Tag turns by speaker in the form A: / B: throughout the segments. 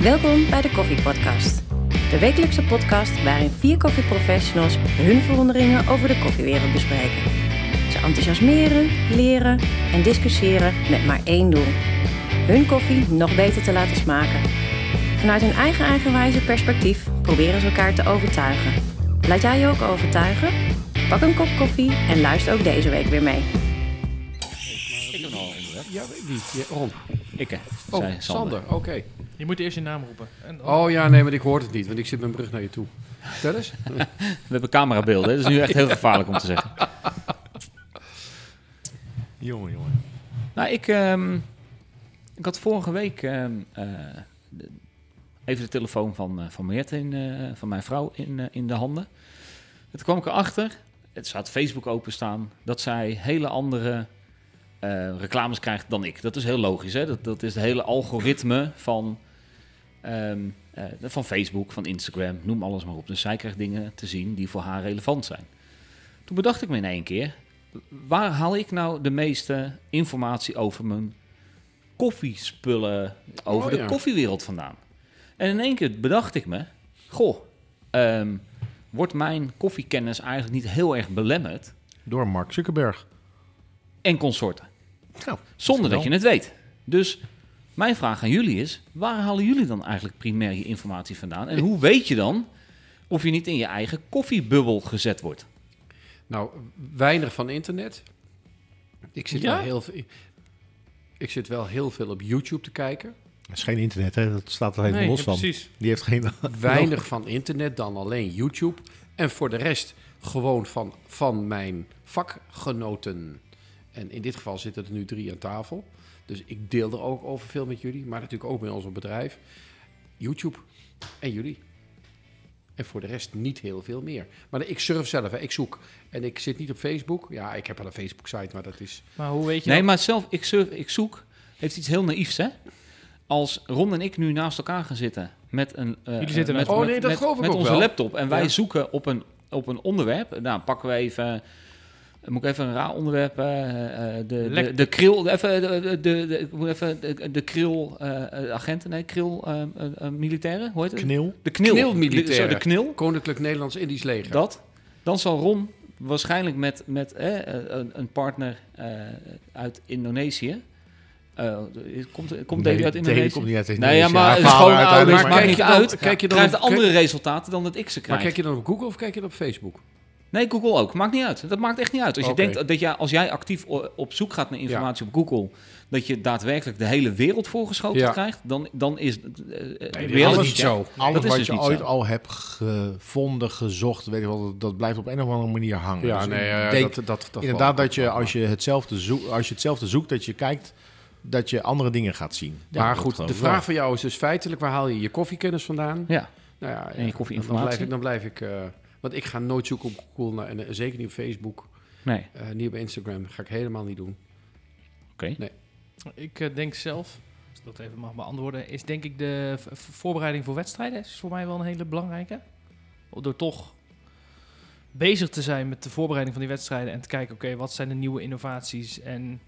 A: Welkom bij de Koffie Podcast. De wekelijkse podcast waarin vier koffieprofessionals hun verwonderingen over de koffiewereld bespreken. Ze enthousiasmeren, leren en discussiëren met maar één doel: hun koffie nog beter te laten smaken. Vanuit hun eigen eigenwijze perspectief proberen ze elkaar te overtuigen. Laat jij je ook overtuigen? Pak een kop koffie en luister ook deze week weer mee.
B: Ja, wie? Ja, Ron.
C: Ikke,
B: Oh,
C: zei
B: Sander,
C: Sander.
B: oké.
D: Je moet eerst je naam roepen. En dan-
B: Oh ja, nee, maar ik hoorde het niet, want ik zit met mijn brug naar je toe. Vertel eens.
C: We hebben camerabeelden, hè? dat is nu echt heel gevaarlijk om te zeggen.
B: jongen, jongen.
C: Nou, ik, ehm, ik had vorige week ehm, eh, de- even de telefoon van, eh, van Meert, in, eh, van mijn vrouw, in, eh, in de handen. Toen kwam ik erachter, het staat Facebook openstaan, dat zij hele andere eh, reclames krijgt dan ik. Dat is heel logisch, hè? Dat, dat is het hele algoritme van, ehm, eh, van Facebook, van Instagram, noem alles maar op. Dus zij krijgt dingen te zien die voor haar relevant zijn. Toen bedacht ik me in één keer, waar haal ik nou de meeste informatie over mijn koffiespullen, over
B: Oh,
C: de
B: ja.
C: koffiewereld vandaan? En in één keer bedacht ik me, goh, ehm, wordt mijn koffiekennis eigenlijk niet heel erg belemmerd
E: Door Mark Zuckerberg.
C: en consorten?
E: Nou,
C: Zonder dat je
E: misschien
C: het weet. Dus mijn vraag aan jullie is: waar halen jullie dan eigenlijk primair je informatie vandaan? En hoe weet je dan of je niet in je eigen koffiebubbel gezet wordt?
B: Nou, weinig van internet. Ik zit,
D: Ja?
B: wel heel, ve- ik zit wel heel veel op YouTube te kijken.
E: wel. Het is geen internet, hè? dat staat er helemaal
D: nee,
E: los
D: ja,
E: van.
D: precies.
E: Die heeft geen...
B: Weinig van internet dan alleen YouTube. En voor de rest gewoon van, van mijn vakgenoten. En in dit geval zitten er nu drie aan tafel. Dus ik deel er ook over veel met jullie. Maar natuurlijk ook met ons bedrijf. YouTube en jullie. En voor de rest niet heel veel meer. Maar ik surf zelf, hè. ik zoek. En ik zit niet op Facebook. Ja, ik heb wel een Facebook-site, maar dat is...
D: Maar hoe weet je
C: Nee,
D: dat?
C: maar zelf, ik, surf, ik zoek, heeft iets heel naïefs, hè? Als Ron en ik nu naast elkaar gaan zitten met een. eh,
D: Jullie zitten
C: met,
D: met-
B: Oh, nee, dat
C: met-
B: geloof ik
C: met
B: ook
C: onze
B: wel.
C: laptop en wij
B: Ja.
C: zoeken op een, op een onderwerp. Nou, pakken we even. Moet ik even een raar onderwerp? eh, eh, de, de,
D: Lek-
C: de kril. Even, de, de, de, ik moet even de, de kril. eh, eh, agenten, nee, kril. eh, eh, eh, militairen, hoe heet het?
E: Knil.
C: De knil.
B: Knilmilitairen.
C: De, zo, de knil.
B: Koninklijk Nederlands-Indisch Leger.
C: Dat. Dan zal Ron waarschijnlijk met, met eh, een, een partner eh, uit Indonesië. eh, komt komt Davy uit
E: Nee, die
C: Indonesië?
E: komt niet uit
C: nou ja,
E: Indonesië.
C: maar
E: Haar
C: het is
E: vader
C: gewoon oud,
E: uiteindelijk,
C: maar
B: maar-
C: maakt
B: Kijk
C: niet
B: je dan-
C: uit.
B: kijk je dan
C: krijgt
B: op-
C: andere resultaten dan dat ik ze
B: maar
C: krijg.
B: kijk je dan op Google of kijk je dan op Facebook?
C: Nee, Google ook. Maakt niet uit. Dat maakt echt niet uit. Als
B: Oké.
C: je denkt dat jij, als jij actief o- op zoek gaat naar informatie op Google, dat je daadwerkelijk de hele wereld voorgeschoten
B: Ja.
C: krijgt, dan, dan is eh, eh,
B: alles
C: reality
B: niet
C: check.
B: zo.
E: Alles
C: Dat is
E: wat
C: dus
E: je
C: niet
E: ooit
C: zo.
E: al hebt gevonden, gezocht, weet je wel, dat, dat blijft op een of andere manier hangen. Dus ik
B: eh,
E: denk
B: dat, dat
E: inderdaad
B: wel.
E: dat je als je, hetzelfde zoek, als je hetzelfde zoekt, dat je kijkt, dat je andere dingen gaat zien. Ja,
B: maar
E: dat
B: goed,
E: geloof
B: de
E: ik wel.
B: vraag van jou is dus feitelijk, waar haal je je koffiekennis vandaan?
C: Ja.
B: Nou ja,
C: En je
B: ja,
C: koffieinformatie?
B: Dan blijf ik, dan blijf ik eh, want ik ga nooit zoeken op Google, naar- en eh, zeker niet op Facebook,
C: Nee.
B: eh, niet op Instagram. Dat ga ik helemaal niet doen.
D: Ik eh, denk zelf, als ik dat even mag beantwoorden, is denk ik de v- v- voorbereiding voor wedstrijden is voor mij wel een hele belangrijke. Door toch bezig te zijn met de voorbereiding van die wedstrijden en te kijken, oké, wat zijn de nieuwe innovaties en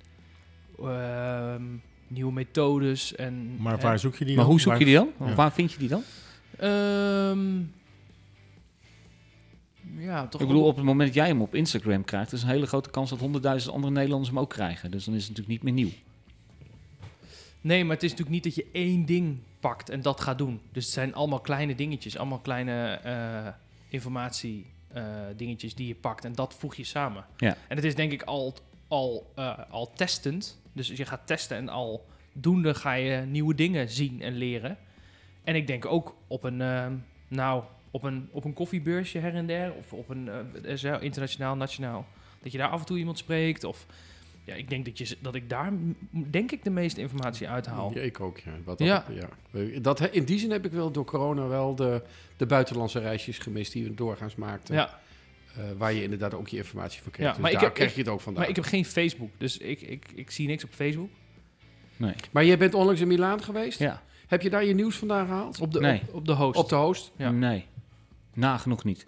D: ehm, nieuwe methodes. En,
E: Maar
D: en-
E: waar zoek je die
C: Maar
E: dan?
C: hoe zoek
E: Waar-
C: je die dan?
E: Ja.
C: Waar vind je die dan?
D: Ehm, ja, toch
C: Ik bedoel, op het moment dat jij hem op Instagram krijgt, is een hele grote kans dat honderdduizend andere Nederlanders hem ook krijgen. Dus dan is het natuurlijk niet meer nieuw.
D: Nee, maar het is natuurlijk niet dat je één ding pakt en dat gaat doen. Dus het zijn allemaal kleine dingetjes, allemaal kleine eh, informatie eh, dingetjes die je pakt en dat voeg je samen.
C: Ja.
D: En het is denk ik al, al, eh, al testend. Dus je gaat testen en al doende ga je nieuwe dingen zien en leren. En ik denk ook op een, eh, nou, op een, op een koffiebeursje her en der, of op een eh, zo, internationaal, nationaal, dat je daar af en toe iemand spreekt of... Ja, ik denk dat, je, dat ik daar m- denk ik de meeste informatie uithaal.
B: Ja, ik ook, ja. Wat dat, ja.
D: Nou. Ja.
B: Dat, he- in die zin heb ik wel door corona wel de, de buitenlandse reisjes gemist die we doorgaans maakten.
D: Ja.
B: eh, waar je inderdaad ook je informatie van kreeg.
D: Ja,
B: dus
D: maar ik
B: daar
D: heb-
B: krijg
D: ik-
B: je het ook vandaan.
D: Maar ik heb geen Facebook, dus ik, ik, ik zie niks op Facebook.
C: Nee.
B: Maar jij bent onlangs in Milaan geweest.
C: Ja.
B: Heb je daar je nieuws vandaan gehaald?
D: Op de,
C: Nee. Mm.
D: op, op de host.
B: Op de host?
D: Ja.
C: Nee. Nagenoeg niet.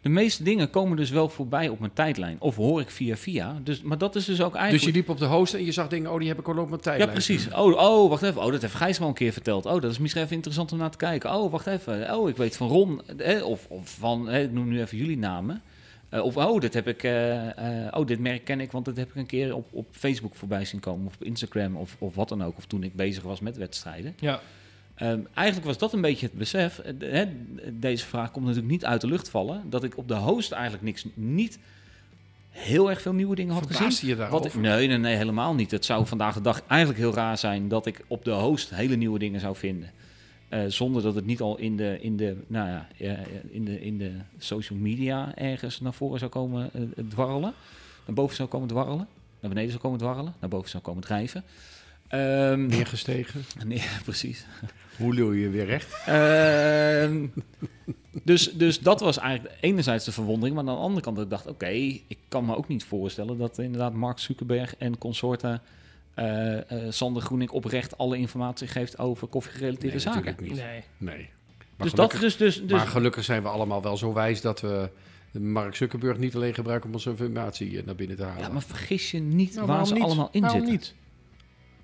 C: de meeste dingen komen dus wel voorbij op mijn tijdlijn. Of hoor ik via via. Dus, maar dat is dus ook eigenlijk...
B: Dus je liep op de host en je zag dingen, oh, die heb ik al op mijn tijd.
C: Ja, precies. Oh, oh, wacht even. Oh, dat heeft Gijs wel een keer verteld. Oh, dat is misschien even interessant om naar te kijken. Oh, wacht even. Oh, ik weet van Ron. Hè, of, of van, hè, ik noem nu even jullie namen. Eh, of, oh, dat heb ik, eh, eh, oh, dit merk ken ik, want dat heb ik een keer op, op Facebook voorbij zien komen. Of op Instagram of, of wat dan ook. Of toen ik bezig was met wedstrijden.
D: Ja,
C: Ehm, eigenlijk was dat een beetje het besef. Eh, de- hè, deze vraag komt natuurlijk niet uit de lucht vallen. Dat ik op de host eigenlijk niks, niet heel erg veel nieuwe dingen had gezien.
B: Verbaasde je
C: Wat ik,
B: daarover?
C: nee, nee, nee, helemaal niet. Het zou vandaag de dag eigenlijk heel raar zijn dat ik op de host hele nieuwe dingen zou vinden. Eh, zonder dat het niet al in de, in, de, nou ja, eh, eh, in, de, in de social media ergens naar voren zou komen eh, dwarrelen. Naar boven zou komen dwarrelen. Naar beneden zou komen dwarrelen. Naar boven zou komen drijven. Ehm,
E: Neergestegen.
C: nee, precies.
E: Hoe wil je weer recht?
C: Ehm, dus, dus dat was eigenlijk enerzijds de verwondering. Maar aan de andere kant dat ik dacht, oké, ik kan me ook niet voorstellen... dat inderdaad Mark Zuckerberg en consorten... eh, eh, Sander Groening oprecht alle informatie geeft over koffiegerelateerde
B: Nee,
C: zaken.
B: natuurlijk niet.
D: nee.
B: Nee. Maar
C: Dus
B: gelukkig-
C: dat is dus... dus
B: maar gelukkig zijn we allemaal wel zo wijs dat we Mark Zuckerberg niet alleen gebruiken om onze informatie eh, naar binnen te halen.
C: ja, maar vergis je niet
E: Nou,
C: waar
E: waarom
C: ze
E: niet?
C: allemaal in
E: Waarom
C: zitten.
E: niet?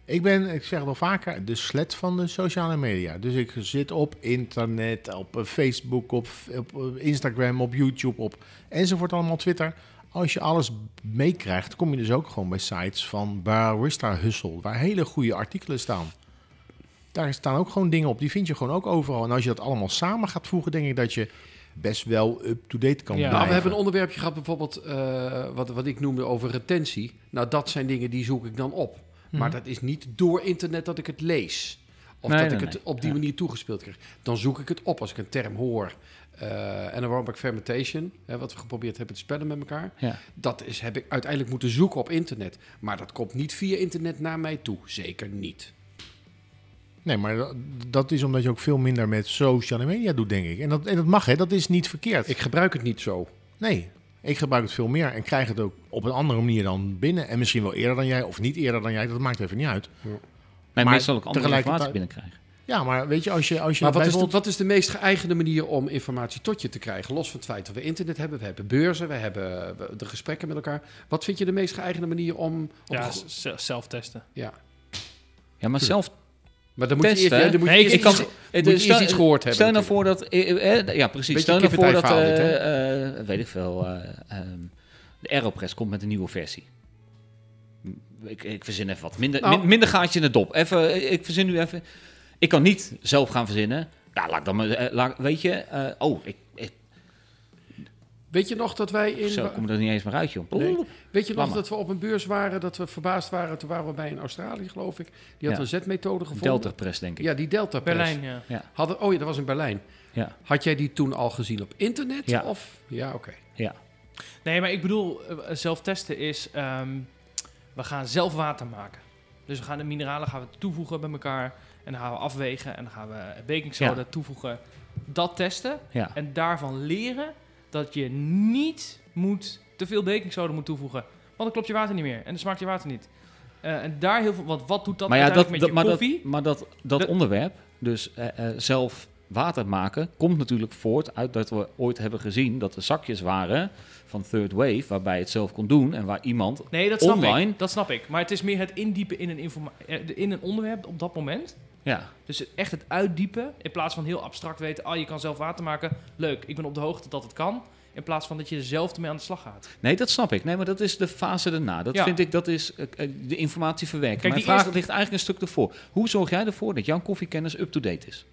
E: Ik ben, ik zeg het al vaker, de slet van de sociale media. Dus ik zit op internet, op eh, Facebook, op, op eh, Instagram, op YouTube, op enzovoort allemaal Twitter. Als je alles meekrijgt, kom je dus ook gewoon bij sites van Barista Hustle, waar hele goede artikelen staan. Daar staan ook gewoon dingen op, die vind je gewoon ook overal. En als je dat allemaal samen gaat voegen, denk ik dat je best wel up-to-date kan
D: Ja.
E: blijven.
B: Nou, we hebben een onderwerpje gehad, bijvoorbeeld eh, wat, wat ik noemde over retentie. Nou, dat zijn dingen die zoek ik dan op. Maar dat is niet door internet dat ik het lees. Of
C: Mhm. Nee,
B: dat
C: nee,
B: ik het
C: nee.
B: op die
C: Ja.
B: manier toegespeeld krijg. Dan zoek ik het op als ik een term hoor. Eh, en anaerobic fermentation, hè, wat we geprobeerd hebben te spellen met elkaar.
C: Ja.
B: Dat is, heb ik uiteindelijk moeten zoeken op internet. Maar dat komt niet via internet naar mij toe. Zeker niet.
E: Nee, maar dat- dat is omdat je ook veel minder met sociale media doet, denk ik. En dat, en dat mag, hè? Dat is niet verkeerd.
B: Ik gebruik het niet zo.
E: nee, ik gebruik het veel meer en krijg het ook op een andere manier dan binnen. En misschien wel eerder dan jij, of niet eerder dan jij. Dat maakt even niet uit.
C: Nee,
E: Maar
C: meestal ook andere
E: tegelijkertijd-
C: informatie binnenkrijgen.
E: Ja, maar weet je, als je, als je
B: Maar wat is, de,
E: bijvoorbeeld...
B: wat is de meest geëigende manier om informatie tot je te krijgen? Los van het feit dat we internet hebben, we hebben beurzen, we hebben eh, de gesprekken met elkaar. Wat vind je de meest geëigende manier om... om
D: ja
B: te go-
D: z- zelf testen.
B: ja.
C: Ja, maar zelf
B: Maar dan moet je eerst,
C: Testen, hè?
B: dan moet je
D: Nee, ik-
B: eerst
D: ik kan-
B: iets-
C: Het
B: Moet je
C: is-
B: eerst iets gehoord hebben
C: Stel nou voor dat... eh, eh, ja, precies.
E: Beetje
C: Stel nou voor dat...
E: kippentuig verhaal
C: eh, eh, weet ik veel. eh, ehm, de Aeropress komt met een nieuwe versie. M- Ik, ik verzin even wat. Minder,
B: Nou.
C: min- minder gaatje in de dop. Even, eh, ik verzin nu even... Ik kan niet zelf gaan verzinnen. Ja, laat ik dan maar... eh, laat- weet je? eh, oh, ik, ik,
B: Weet je nog dat wij in...
C: zo kom ik er niet eens meer uit, joh.
B: Nee. Weet je nog
C: Lama.
B: dat we op een beurs waren, dat we verbaasd waren, toen waren we bij in Australië geloof ik. Die had
C: Ja.
B: een zetmethode gevonden.
C: Delta Press, denk ik.
B: Ja, die Delta Press.
D: Berlijn, ja.
B: Hadden, oh ja, dat was in Berlijn.
C: Ja.
B: Had jij die toen al gezien op internet?
C: Ja.
B: Of? Ja, oké.
C: ja.
D: Nee, maar ik bedoel, eh, zelf testen is, ehm, we gaan zelf water maken. Dus we gaan de mineralen gaan we toevoegen bij elkaar. En dan gaan we afwegen en dan gaan we baking soda
C: Ja.
D: toevoegen. Dat testen
C: ja.
D: en daarvan leren dat je niet moet te veel baking soda moet toevoegen. Want dan klopt je water niet meer en dan smaakt je water niet. Eh, en daar heel veel, want wat doet dat
C: maar ja, dat,
D: uiteindelijk
C: dat-
D: met
C: maar,
D: je
C: dat,
D: koffie?
C: maar dat, dat
D: Dat-
C: onderwerp, dus eh, eh, zelf water maken, komt natuurlijk voort uit dat we ooit hebben gezien dat er zakjes waren van Third Wave, waarbij je het zelf kon doen en waar iemand...
D: nee, dat snap
C: online-
D: ik. Dat snap ik. Maar het is meer het indiepen in een, informa- eh, in een onderwerp op dat moment.
C: Ja,
D: Dus het- echt het uitdiepen, in plaats van heel abstract weten, ah, je kan zelf water maken, leuk, ik ben op de hoogte dat het kan, in plaats van dat je er zelf mee aan de slag gaat.
C: nee, dat snap ik. Nee, maar dat is de fase daarna. Dat
D: Ja.
C: vind ik, dat is eh, eh, de informatie verwerken.
D: Kijk,
C: Mijn
D: die
C: vraag
D: eerste-
C: ligt eigenlijk een stuk ervoor. Hoe zorg jij ervoor dat jouw koffiekennis up-to-date is?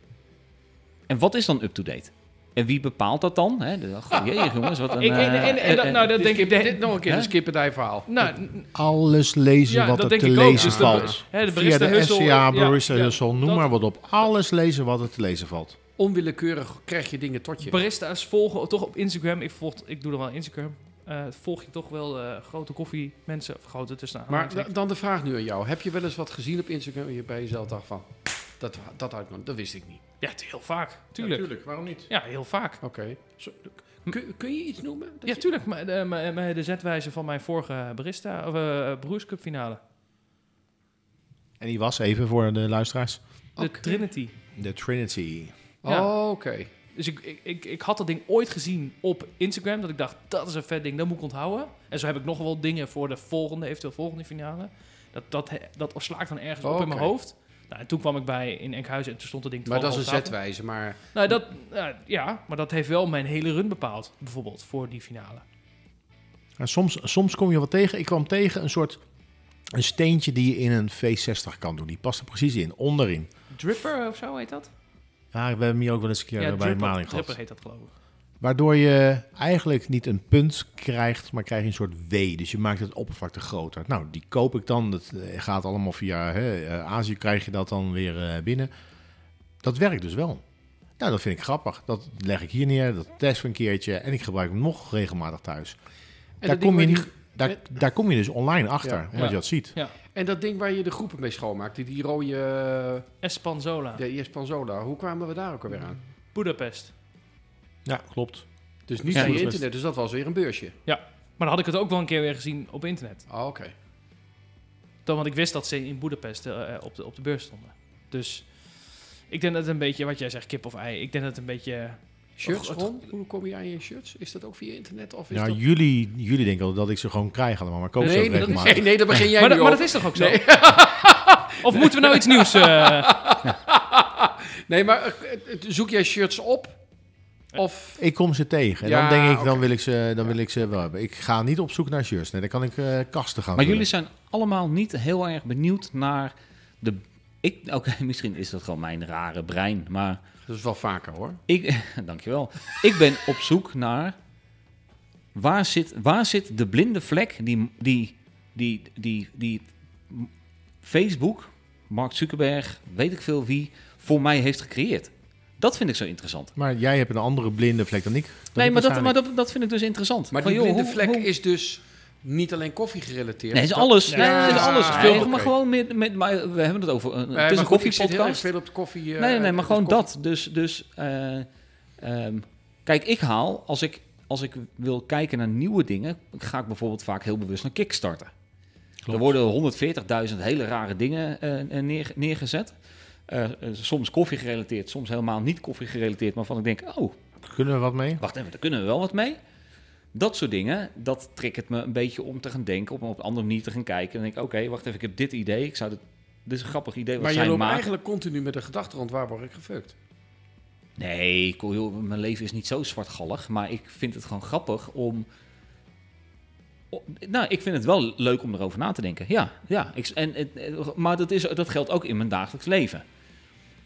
C: En wat is dan up-to-date? En wie bepaalt dat dan? Hè? De- Goh, jee, jongens, wat een...
D: Ik- en- en- en
C: eh, eh,
D: dat-
C: eh,
D: nou, dat
B: Dit-
D: denk ik.
B: Dus Dit,
D: de-
B: nog een keer,
C: Hè?
B: een kippendij verhaal.
D: Nou, n-
E: Alles lezen
D: Ja,
E: wat
D: dat
E: er
D: denk ik
E: te
D: ook.
E: lezen
B: Ja.
E: valt.
D: hè, de
E: Via
D: barista
E: de
D: Hussel,
E: SCA,
D: ja,
E: Barista
D: ja,
E: Hustle, noem
D: dat-
E: maar wat op. Alles lezen wat er te lezen valt.
B: Onwillekeurig krijg je dingen tot je.
D: Barista's volgen toch op Instagram. Ik, volg, ik doe er wel aan Instagram. Eh, volg je toch wel eh, grote koffiemensen, of grote tussen
B: Maar da-
D: aanhalingstekens.
B: dan de vraag nu aan jou. Heb je wel eens wat gezien op Instagram waar je bij jezelf dacht van... Dat, dat, had ik nog- dat wist ik niet.
D: Ja, het- heel vaak, tuurlijk. Ja,
B: waarom niet?
D: heel vaak.
B: Oké. Zo, Kun, kun je iets noemen? Dat
D: Ja,
B: je-
D: tuurlijk, maar de, maar- eh, maar de zetwijze van mijn vorige barista, of eh Broers Cup finale.
E: En die was even voor de luisteraars.
D: De Trinity.
E: De Trinity.
D: Ja.
B: Oh, oké.
D: Dus ik, ik, ik, ik had dat ding ooit gezien op Instagram. Dat ik dacht, dat is een vet ding, dat moet ik onthouden. En zo heb ik nog wel dingen voor de volgende, eventueel volgende finale. Dat, dat, he- dat slaakt dan ergens
B: Oh,
D: op in mijn
B: oké.
D: hoeven. Nou, en toen kwam ik bij in Enkhuizen en toen stond dat ding
B: Maar dat is een
D: 12,5 tafel.
B: zetwijze. Maar
D: Nou, dat, nou, ja, maar dat heeft wel mijn hele run bepaald, bijvoorbeeld, voor die finale.
E: En soms, soms kom je wat tegen. Ik kwam tegen een soort een steentje die je in een V60 kan doen. Die past er precies in, onderin.
D: Dripper of zo heet dat?
E: Ja, we hebben hem hier ook wel eens een keer bij de maling
D: Dripper
E: gehad.
D: heet dat, geloof ik.
E: Waardoor je eigenlijk niet een punt krijgt, maar krijg je een soort W. Dus je maakt het oppervlakte groter. Nou, die koop ik dan. Dat eh, gaat allemaal via hè, eh, Azië, krijg je dat dan weer eh, binnen. Dat werkt dus wel. Nou, dat vind ik grappig. Dat leg ik hier neer, dat test ik een keertje. En ik gebruik hem nog regelmatig thuis.
B: en,
E: daar,
B: dat ding
E: kom je,
B: waar die-
E: niet- daar, daar kom je dus online achter,
B: Ja.
E: omdat
D: Ja.
E: je dat ziet.
B: en dat ding waar je de groepen mee schoonmaakt, die, die rode eh,
D: Espanzola,
B: de Espanzola, hoe kwamen we daar ook alweer aan?
D: Budapest.
E: Ja, klopt.
B: Dus niet
C: Ja,
B: via
E: dat is best-
B: internet, dus dat was weer een beursje.
D: Maar dan had ik het ook wel een keer weer gezien op internet.
B: Oh, Oké.
D: Dan, want ik wist dat ze in Boedapest eh, eh, op, de, op de beurs stonden. Dus ik denk dat het een beetje, wat jij zegt, kip of ei. Ik denk dat het een beetje...
B: Shirts,
D: Oh, het-
B: Ron? Hoe kom je aan je shirts? Is dat ook via internet? Of is
E: Ja,
B: dat...
E: jullie, jullie denken al dat ik ze gewoon krijg allemaal, maar ik koop ze
B: nee,
E: ook
B: maar dat is- nee,
E: regelmatig.
B: nee, daar begin jij
D: Maar,
B: nu
D: dat- maar dat
B: over.
D: is toch ook zo?
B: Nee.
D: Of moeten we nou iets nieuws... eh,
B: Nee, maar eh, eh, zoek jij shirts op? Of...
E: Ik kom ze tegen. En
B: Ja,
E: dan denk ik,
B: oké.
E: dan, wil ik ze, dan wil ik ze wel hebben. Ik ga niet op zoek naar shirts. Nee, dan kan ik eh, kasten gaan
B: Oh,
C: Maar
E: vullen.
C: jullie zijn allemaal niet heel erg benieuwd naar de... Ik, Oké, misschien is dat gewoon mijn rare brein, maar
B: Dat is wel vaker hoor.
C: ik... Dankjewel. Ik ben op zoek naar... Waar zit, waar zit de blinde vlek die, die, die, die, die Facebook, Mark Zuckerberg, weet ik veel wie, voor mij heeft gecreëerd? Dat vind ik zo interessant.
E: Maar jij hebt een andere blinde vlek dan ik. Dan
C: Nee,
E: ik
C: maar, dat, maar
E: waarschijnlijk.
C: dat, dat vind ik dus interessant.
B: Maar
C: Van,
B: die
C: joh,
B: blinde
C: hoe-
B: vlek
C: hoe-
B: is dus niet alleen koffie gerelateerd.
C: Nee, het is
B: Dat-
C: alles.
B: Ja,
C: Nee, het is
B: ja,
C: alles.
B: ja,
C: Gewoon-
B: oké.
C: Maar gewoon met, met, maar we hebben het over een,
B: Eh,
C: het is
B: maar
C: een
B: goed, ik zit heel erg
C: koffiepodcast.
B: veel op de koffie. eh,
C: nee, nee, nee, maar
B: dus
C: gewoon
B: koffie-
C: dat. Dus, dus eh, ehm, kijk, ik haal, als ik, als ik wil kijken naar nieuwe dingen, ga ik bijvoorbeeld vaak heel bewust naar Kickstarter. Er worden 140.000 hele rare dingen eh, eh, neer, neergezet. Eh, eh, soms koffie gerelateerd, soms helemaal niet koffie gerelateerd, maar van ik denk, oh,
E: Kunnen we wat mee?
C: wacht even, daar kunnen we wel wat mee. Dat soort dingen, dat triggert me een beetje om te gaan denken, om op een andere manier te gaan kijken. En dan denk ik, oké, wacht even, ik heb dit idee. Ik zou dit, dit is een grappig idee wat
B: Maar je
C: zij
B: loopt
C: maken.
B: eigenlijk continu met de gedachte rond waar word ik gefukt.
C: Nee, ik- joh, mijn leven is niet zo zwartgallig, maar ik vind het gewoon grappig om... o- Nou, ik vind het wel leuk om erover na te denken. Ja, ja. Ik, s- en, het- eh, maar dat, is, dat geldt ook in mijn dagelijks leven.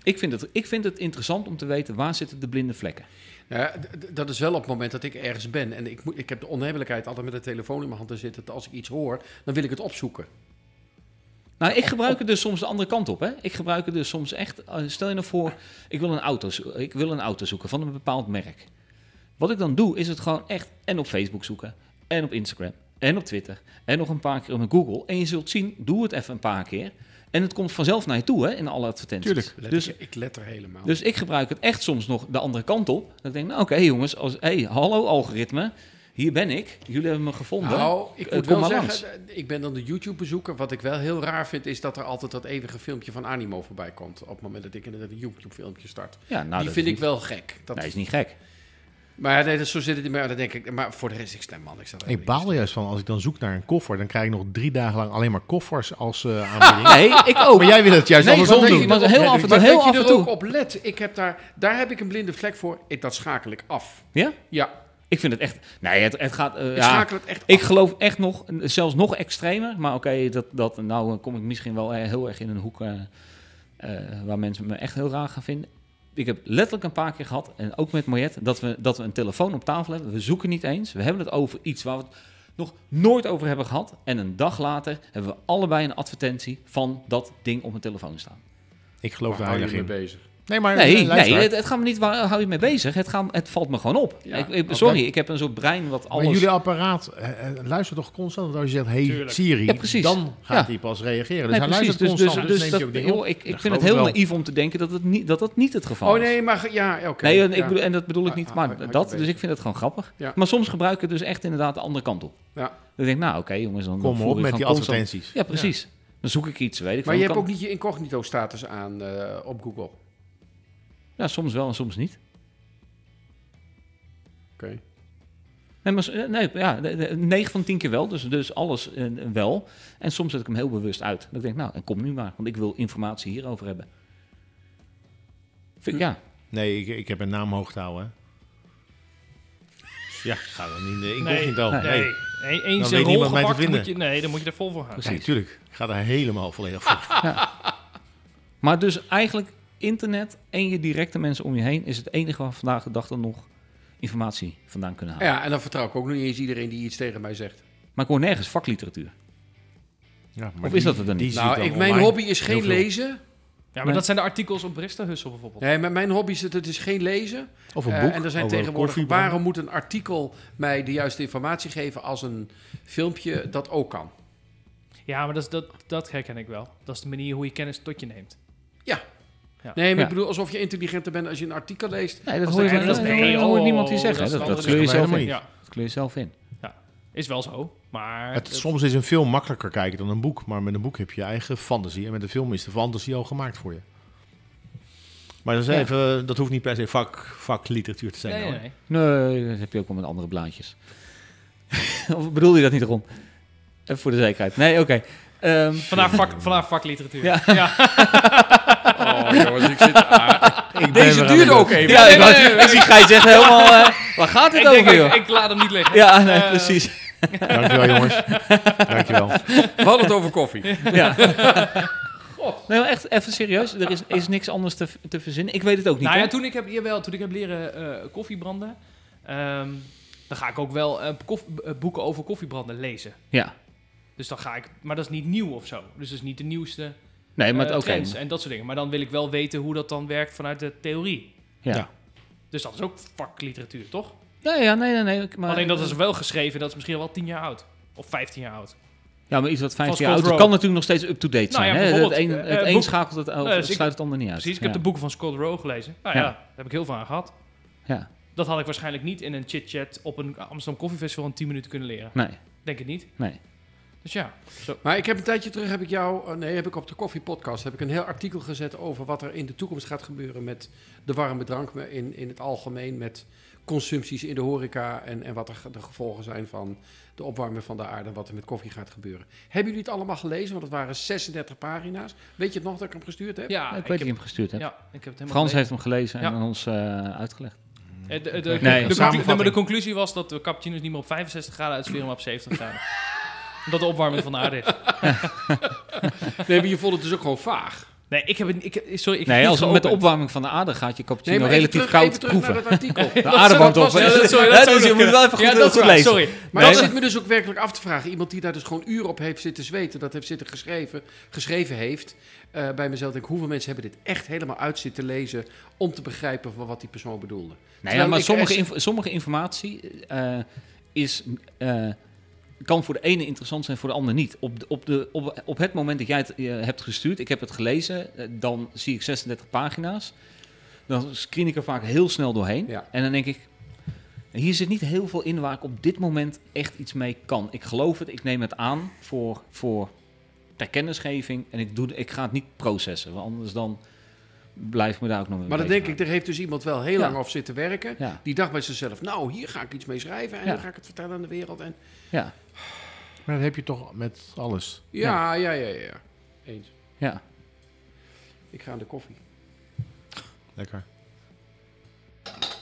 C: Ik vind, het, ik vind het interessant om te weten waar zitten de blinde vlekken.
B: Nou ja, d- d- dat is wel op het moment dat ik ergens ben. En ik, moet, ik heb de onhebbelijkheid altijd met de telefoon in mijn hand te zitten. dat Als ik iets hoor, dan wil ik het opzoeken.
C: Nou, ik gebruik het dus soms de andere kant op. Hè? Ik gebruik het dus soms echt. eh, Stel je nou voor, ik wil, een auto, zo- ik wil een auto zoeken van een bepaald merk. Wat ik dan doe, is het gewoon echt en op Facebook zoeken, en op Instagram, en op Twitter, en nog een paar keer op Google. En je zult zien, doe het even een paar keer. En het komt vanzelf naar je toe, hè, in alle advertenties.
E: Tuurlijk.
B: Let
C: Dus
B: ik, ik let er helemaal.
C: dus ik gebruik het echt soms nog de andere kant op. Dat ik denk, nou oké jongens, als, hey, hallo algoritme, hier ben ik. Jullie hebben me gevonden.
B: Nou, ik
C: Eh,
B: moet
C: kom
B: wel
C: maar
B: zeggen, eh, ik ben dan de YouTube-bezoeker. Wat ik wel heel raar vind, is dat er altijd dat eeuwige filmpje van Animo voorbij komt. Op het moment dat ik inderdaad een YouTube-filmpje start.
C: ja, nou,
B: die
C: dat
B: vind
C: is
B: ik
C: niet-
B: wel gek. Dat,
C: Nee, is niet gek.
B: Maar ja, nee, dat, zo zit het in mij. Maar Dan denk ik, maar voor de rest, ik stem man. Ik, sta daar
E: Ik
B: niet.
E: baal er juist van als ik dan zoek naar een koffer. Dan krijg ik nog drie dagen lang alleen maar koffers als eh aanbieding.
C: Nee, ik ook.
E: Maar jij wil het juist
C: Nee,
E: andersom
C: want
E: doen.
C: ik- maar heel af en toe,
B: Maar
C: heel
B: dat
C: af
B: je
C: en
B: er ook
C: toe.
B: op let. Ik heb daar, daar heb ik een blinde vlek voor. Ik, dat schakel ik af.
C: Ja?
B: Ja,
C: Ik vind het echt. Nee, het, het gaat. eh,
B: ik
C: ja,
B: schakel het echt
C: ik
B: af.
C: geloof echt nog, zelfs nog extremer. Maar oké, dat, dat, nou eh, kom ik misschien wel eh, heel erg in een hoek eh, eh, waar mensen me echt heel raar gaan vinden. Ik heb letterlijk een paar keer gehad, en ook met Mariette, dat we, dat we een telefoon op tafel hebben. We zoeken niet eens. We hebben het over iets waar we het nog nooit over hebben gehad. En een dag later hebben we allebei een advertentie van dat ding op mijn telefoon staan.
E: Ik geloof
B: Waar
C: Oh,
B: hou
E: daar
B: je
E: heilig in.
B: mee bezig?
E: Nee, maar
C: Nee,
E: eh, luister.
C: nee het, het gaat me niet, waar hou je mee bezig? Het, gaat, het valt me gewoon op.
B: Ja,
C: ik, ik-
B: oké.
C: Sorry, ik heb een soort brein wat
E: Maar
C: alles...
E: jullie apparaat eh, eh, luistert toch constant? Want als je zegt, hey
D: Tuurlijk.
E: Siri,
C: Ja, precies.
E: dan gaat
C: Ja.
E: hij pas reageren. Dus
C: Nee,
E: hij
C: precies.
E: luistert
C: Dus, dus,
E: constant,
C: dus,
E: dus, neemt
C: dat,
E: hij ook dingen
C: joh,
E: op.
C: ik, ik vind
E: Dat geloof
C: het
E: ik
C: heel
E: wel.
C: naïef om te denken dat, het niet, dat dat niet het geval
B: Oh
C: is.
B: nee, maar ge- ja, oké.
C: Nee, en,
B: ja.
C: ik bedoel, en dat bedoel ik niet,
B: Ah,
C: maar
B: ah, had je
C: dat,
B: beter.
C: dus ik vind het gewoon grappig.
B: Ja.
C: Maar soms gebruik ik het dus echt inderdaad de andere kant op.
B: Ja.
C: Dan denk ik, nou oké jongens, dan
E: Kom
C: voer
E: op
C: je
E: met
C: gewoon
E: die
C: constant-
E: advertenties.
C: Ja, precies. Dan zoek ik iets, weet ik
B: Maar
C: veel.
B: je hebt
C: Kan-
B: ook niet je incognito-status aan eh, op Google.
C: Ja, soms wel en soms niet. Nee, maar, s- eh, nee ja, 9 van 10 keer wel, dus, dus alles eh, wel. En soms zet ik hem heel bewust uit. Dat ik denk, nou, en kom nu maar, want ik wil informatie hierover hebben.
B: Hm.
C: Vind ik, ja,
E: Nee, ik, ik heb een naam hoog te houden. hè. Ja, ga dan niet. eh, Ik nee,
D: Nee,
E: niet al. Nee,
D: Nee, nee. eens
E: weet
D: een rol
E: niemand mij te
D: gepakt,
E: vinden.
D: moet je, nee, dan moet je er vol voor gaan.
E: precies. Ah. Tuurlijk. Ik ga daar helemaal volledig voor.
C: Maar dus eigenlijk internet en je directe mensen om je heen is het enige waar we vandaag de dag dan nog informatie vandaan kunnen halen.
B: Ja, en dan vertrouw ik ook nog niet eens iedereen die iets tegen mij zegt.
C: Maar ik hoor nergens vakliteratuur.
E: Ja, maar
C: Of
E: die-
C: is dat het dan
E: die
C: niet?
E: zie
B: nou,
E: dan
B: ik, mijn
E: online.
B: hobby is
E: Heel
B: geen
E: veel.
B: lezen.
D: Ja, maar
C: Nee.
D: dat zijn de artikels op Bristerhussel bijvoorbeeld.
B: Nee, maar mijn hobby is het, het is geen lezen.
E: Of een
B: Eh,
E: boek.
B: en er zijn
E: of Oh, een
B: tegenwoordig,
E: koffiebrand.
B: waarom moet een artikel mij de juiste informatie geven als een filmpje dat ook kan?
D: Ja, maar dat, is- dat, dat herken ik wel. Dat is de manier hoe je kennis tot je neemt.
B: Nee, maar
C: Ja.
B: ik bedoel alsof je intelligenter bent als je een artikel leest.
C: Nee, dat
B: Als
C: hoor je
B: de-
C: maar-
B: dat-
C: dat
B: nee,
C: hoor je
D: oh,
C: niemand die
D: dat
C: zeggen.
D: is
C: Dat, dat,
D: anders.
C: kleur je
E: Dat kan
C: zelf in.
E: helemaal
D: Ja,
C: Dat kleur je zelf in.
D: is wel zo. Maar
E: Het,
D: het-
E: soms is een film makkelijker kijken dan een boek, maar met een boek heb je je eigen fantasie. En met een film is de fantasie al gemaakt voor je. Maar dat, is
C: Ja.
E: even, eh, dat hoeft niet per se vak, vakliteratuur te zijn.
D: nee,
E: hoor.
D: nee, nee.
C: Nee, dat heb je ook wel met andere blaadjes. of bedoel je dat niet rond? Even voor de zekerheid. Nee, oké. Ehm,
D: Vandaar, vak, vandaar vakliteratuur.
C: Ja.
B: Oh, jongens, ik zit... ah,
E: Ik ben
B: deze
E: eraan
B: duurde ook
E: begonnen.
B: even.
C: ja,
D: nee,
C: ik wou-
D: nee, nee.
C: ik zie Gijs echt helemaal... eh, waar gaat
D: Ik,
C: dit
D: denk,
C: over, joh?
D: ik, ik laat hem niet liggen.
C: ja, nee,
D: Eh,
C: precies.
E: Dankjewel jongens. Dankjewel.
B: We hadden het over koffie.
C: Ja. Nee, maar echt even serieus. Er is, is niks anders te, te verzinnen. Ik weet het ook niet.
D: Nou ja,
C: hoor.
D: toen ik heb, jawel, toen ik heb leren eh, koffie branden, ehm, dan ga ik ook wel eh, koff- eh, boeken over koffiebranden lezen.
C: Ja.
D: Dus dan ga ik, maar dat is niet nieuw of zo. Dus dat is niet de nieuwste
C: Nee, maar
D: eh,
C: het- oké.
D: trends en dat soort dingen. Maar dan wil ik wel weten hoe dat dan werkt vanuit de theorie.
C: Ja.
E: Ja.
D: Dus dat is ook vakliteratuur, toch?
C: Nee, ja, nee, nee, nee. Maar, eh,
D: Alleen dat is wel geschreven, dat is misschien wel 10 jaar oud. Of 15 jaar oud.
C: Ja, maar iets wat 15
D: Van
C: jaar oud is,
D: Scott
C: kan
D: Rowe.
C: natuurlijk nog steeds up-to-date
D: Nou
C: zijn.
D: ja,
C: hè? Het een,
D: bijvoorbeeld, eh,
C: het een
D: boek-
C: sluit het ander,
D: Nee, dus ik-
C: sluit het ander niet uit.
D: Precies, ik heb
C: ja.
D: de boeken van Scott Rowe gelezen. Nou ja,
C: Ja.
D: daar heb ik heel veel aan gehad.
C: Ja.
D: Dat had ik waarschijnlijk niet in een chit-chat op een Amsterdam Koffiefestival in 10 minuten kunnen leren.
C: Nee,
D: Denk het niet.
C: nee.
D: Dus ja.
B: Maar ik heb een tijdje terug, heb ik jou, eh, nee, heb ik op de koffiepodcast, heb ik een heel artikel gezet over wat er in de toekomst gaat gebeuren met de warme drank maar in, in het algemeen, met consumpties in de horeca en, en wat er ge- de gevolgen zijn van de opwarming van de aarde en wat er met koffie gaat gebeuren. Hebben jullie het allemaal gelezen? Want het waren 36 pagina's. Weet je het nog dat ik hem gestuurd heb?
D: ja
C: Nou, ik weet dat je
D: heb,
C: hem gestuurd hebt.
D: ja, ik heb het helemaal
C: Frans
D: gelezen.
C: heeft hem gelezen en
D: Ja.
C: aan ons eh, uitgelegd.
D: Eh, De, de, de,
E: Nee,
D: de-
E: een
D: de-
E: samenvatting.
D: nee, maar de conclusie was dat de cappuccino's niet meer op 65 graden uitsferen, maar op 70 graden. Omdat de opwarming van de aarde is.
B: Nee, maar je vond het dus ook gewoon vaag.
D: Nee, ik heb het niet- ik, sorry, ik heb
C: Nee,
D: het
C: als
D: niet
C: het met de
D: geopend.
C: opwarming van de aarde gaat je cappuccino
B: Nee, maar even
C: relatief
B: terug-
C: koud
B: even terug
C: proeven.
B: naar dat artikel.
C: De aarde
B: dat
C: warmt op.
B: was- ja,
D: dat- sorry, dat
C: Hè,
D: zou
C: dus je
D: nog
C: moet
D: kunnen.
C: wel even goed,
D: Ja, dat is
C: goed
D: waar,
C: lezen.
D: sorry.
B: Maar
C: Nee,
B: dat
C: maar-
B: zit me dus ook werkelijk af te vragen. Iemand die daar dus gewoon uren op heeft zitten zweten, dat heeft zitten geschreven, geschreven heeft. eh, bij mezelf denk ik, hoeveel mensen hebben dit echt helemaal uit zitten lezen om te begrijpen van wat die persoon bedoelde.
C: Nee, Nou ja, maar
B: ik
C: sommige,
B: echt-
C: inf- sommige informatie eh, is, eh, kan voor de ene interessant zijn, voor de ander niet. Op, de- op, de, op, op het moment dat jij het eh, hebt gestuurd, ik heb het gelezen, eh, dan zie ik 36 pagina's. Dan screen ik er vaak heel snel doorheen.
B: Ja.
C: En dan denk ik, hier zit niet heel veel in waar ik op dit moment echt iets mee kan. Ik geloof het, ik neem het aan voor, voor ter kennisgeving en ik, doe, ik ga het niet processen. Want anders dan blijf ik me daar ook nog mee
B: Maar dan denk ik, er heeft dus iemand wel
C: Ja.
B: heel lang op zitten werken.
C: Ja.
B: Die dacht bij zichzelf, nou, hier ga ik iets mee schrijven en
C: Ja.
B: dan ga ik het vertellen aan de wereld. En...
C: Ja,
E: Maar dat heb je toch met alles.
B: Ja, ja, ja, ja, ja. Eens.
C: ja.
B: Ik ga aan de koffie.
E: Lekker.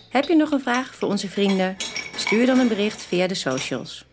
A: Heb je nog een vraag voor onze vrienden? Stuur dan een bericht via de socials.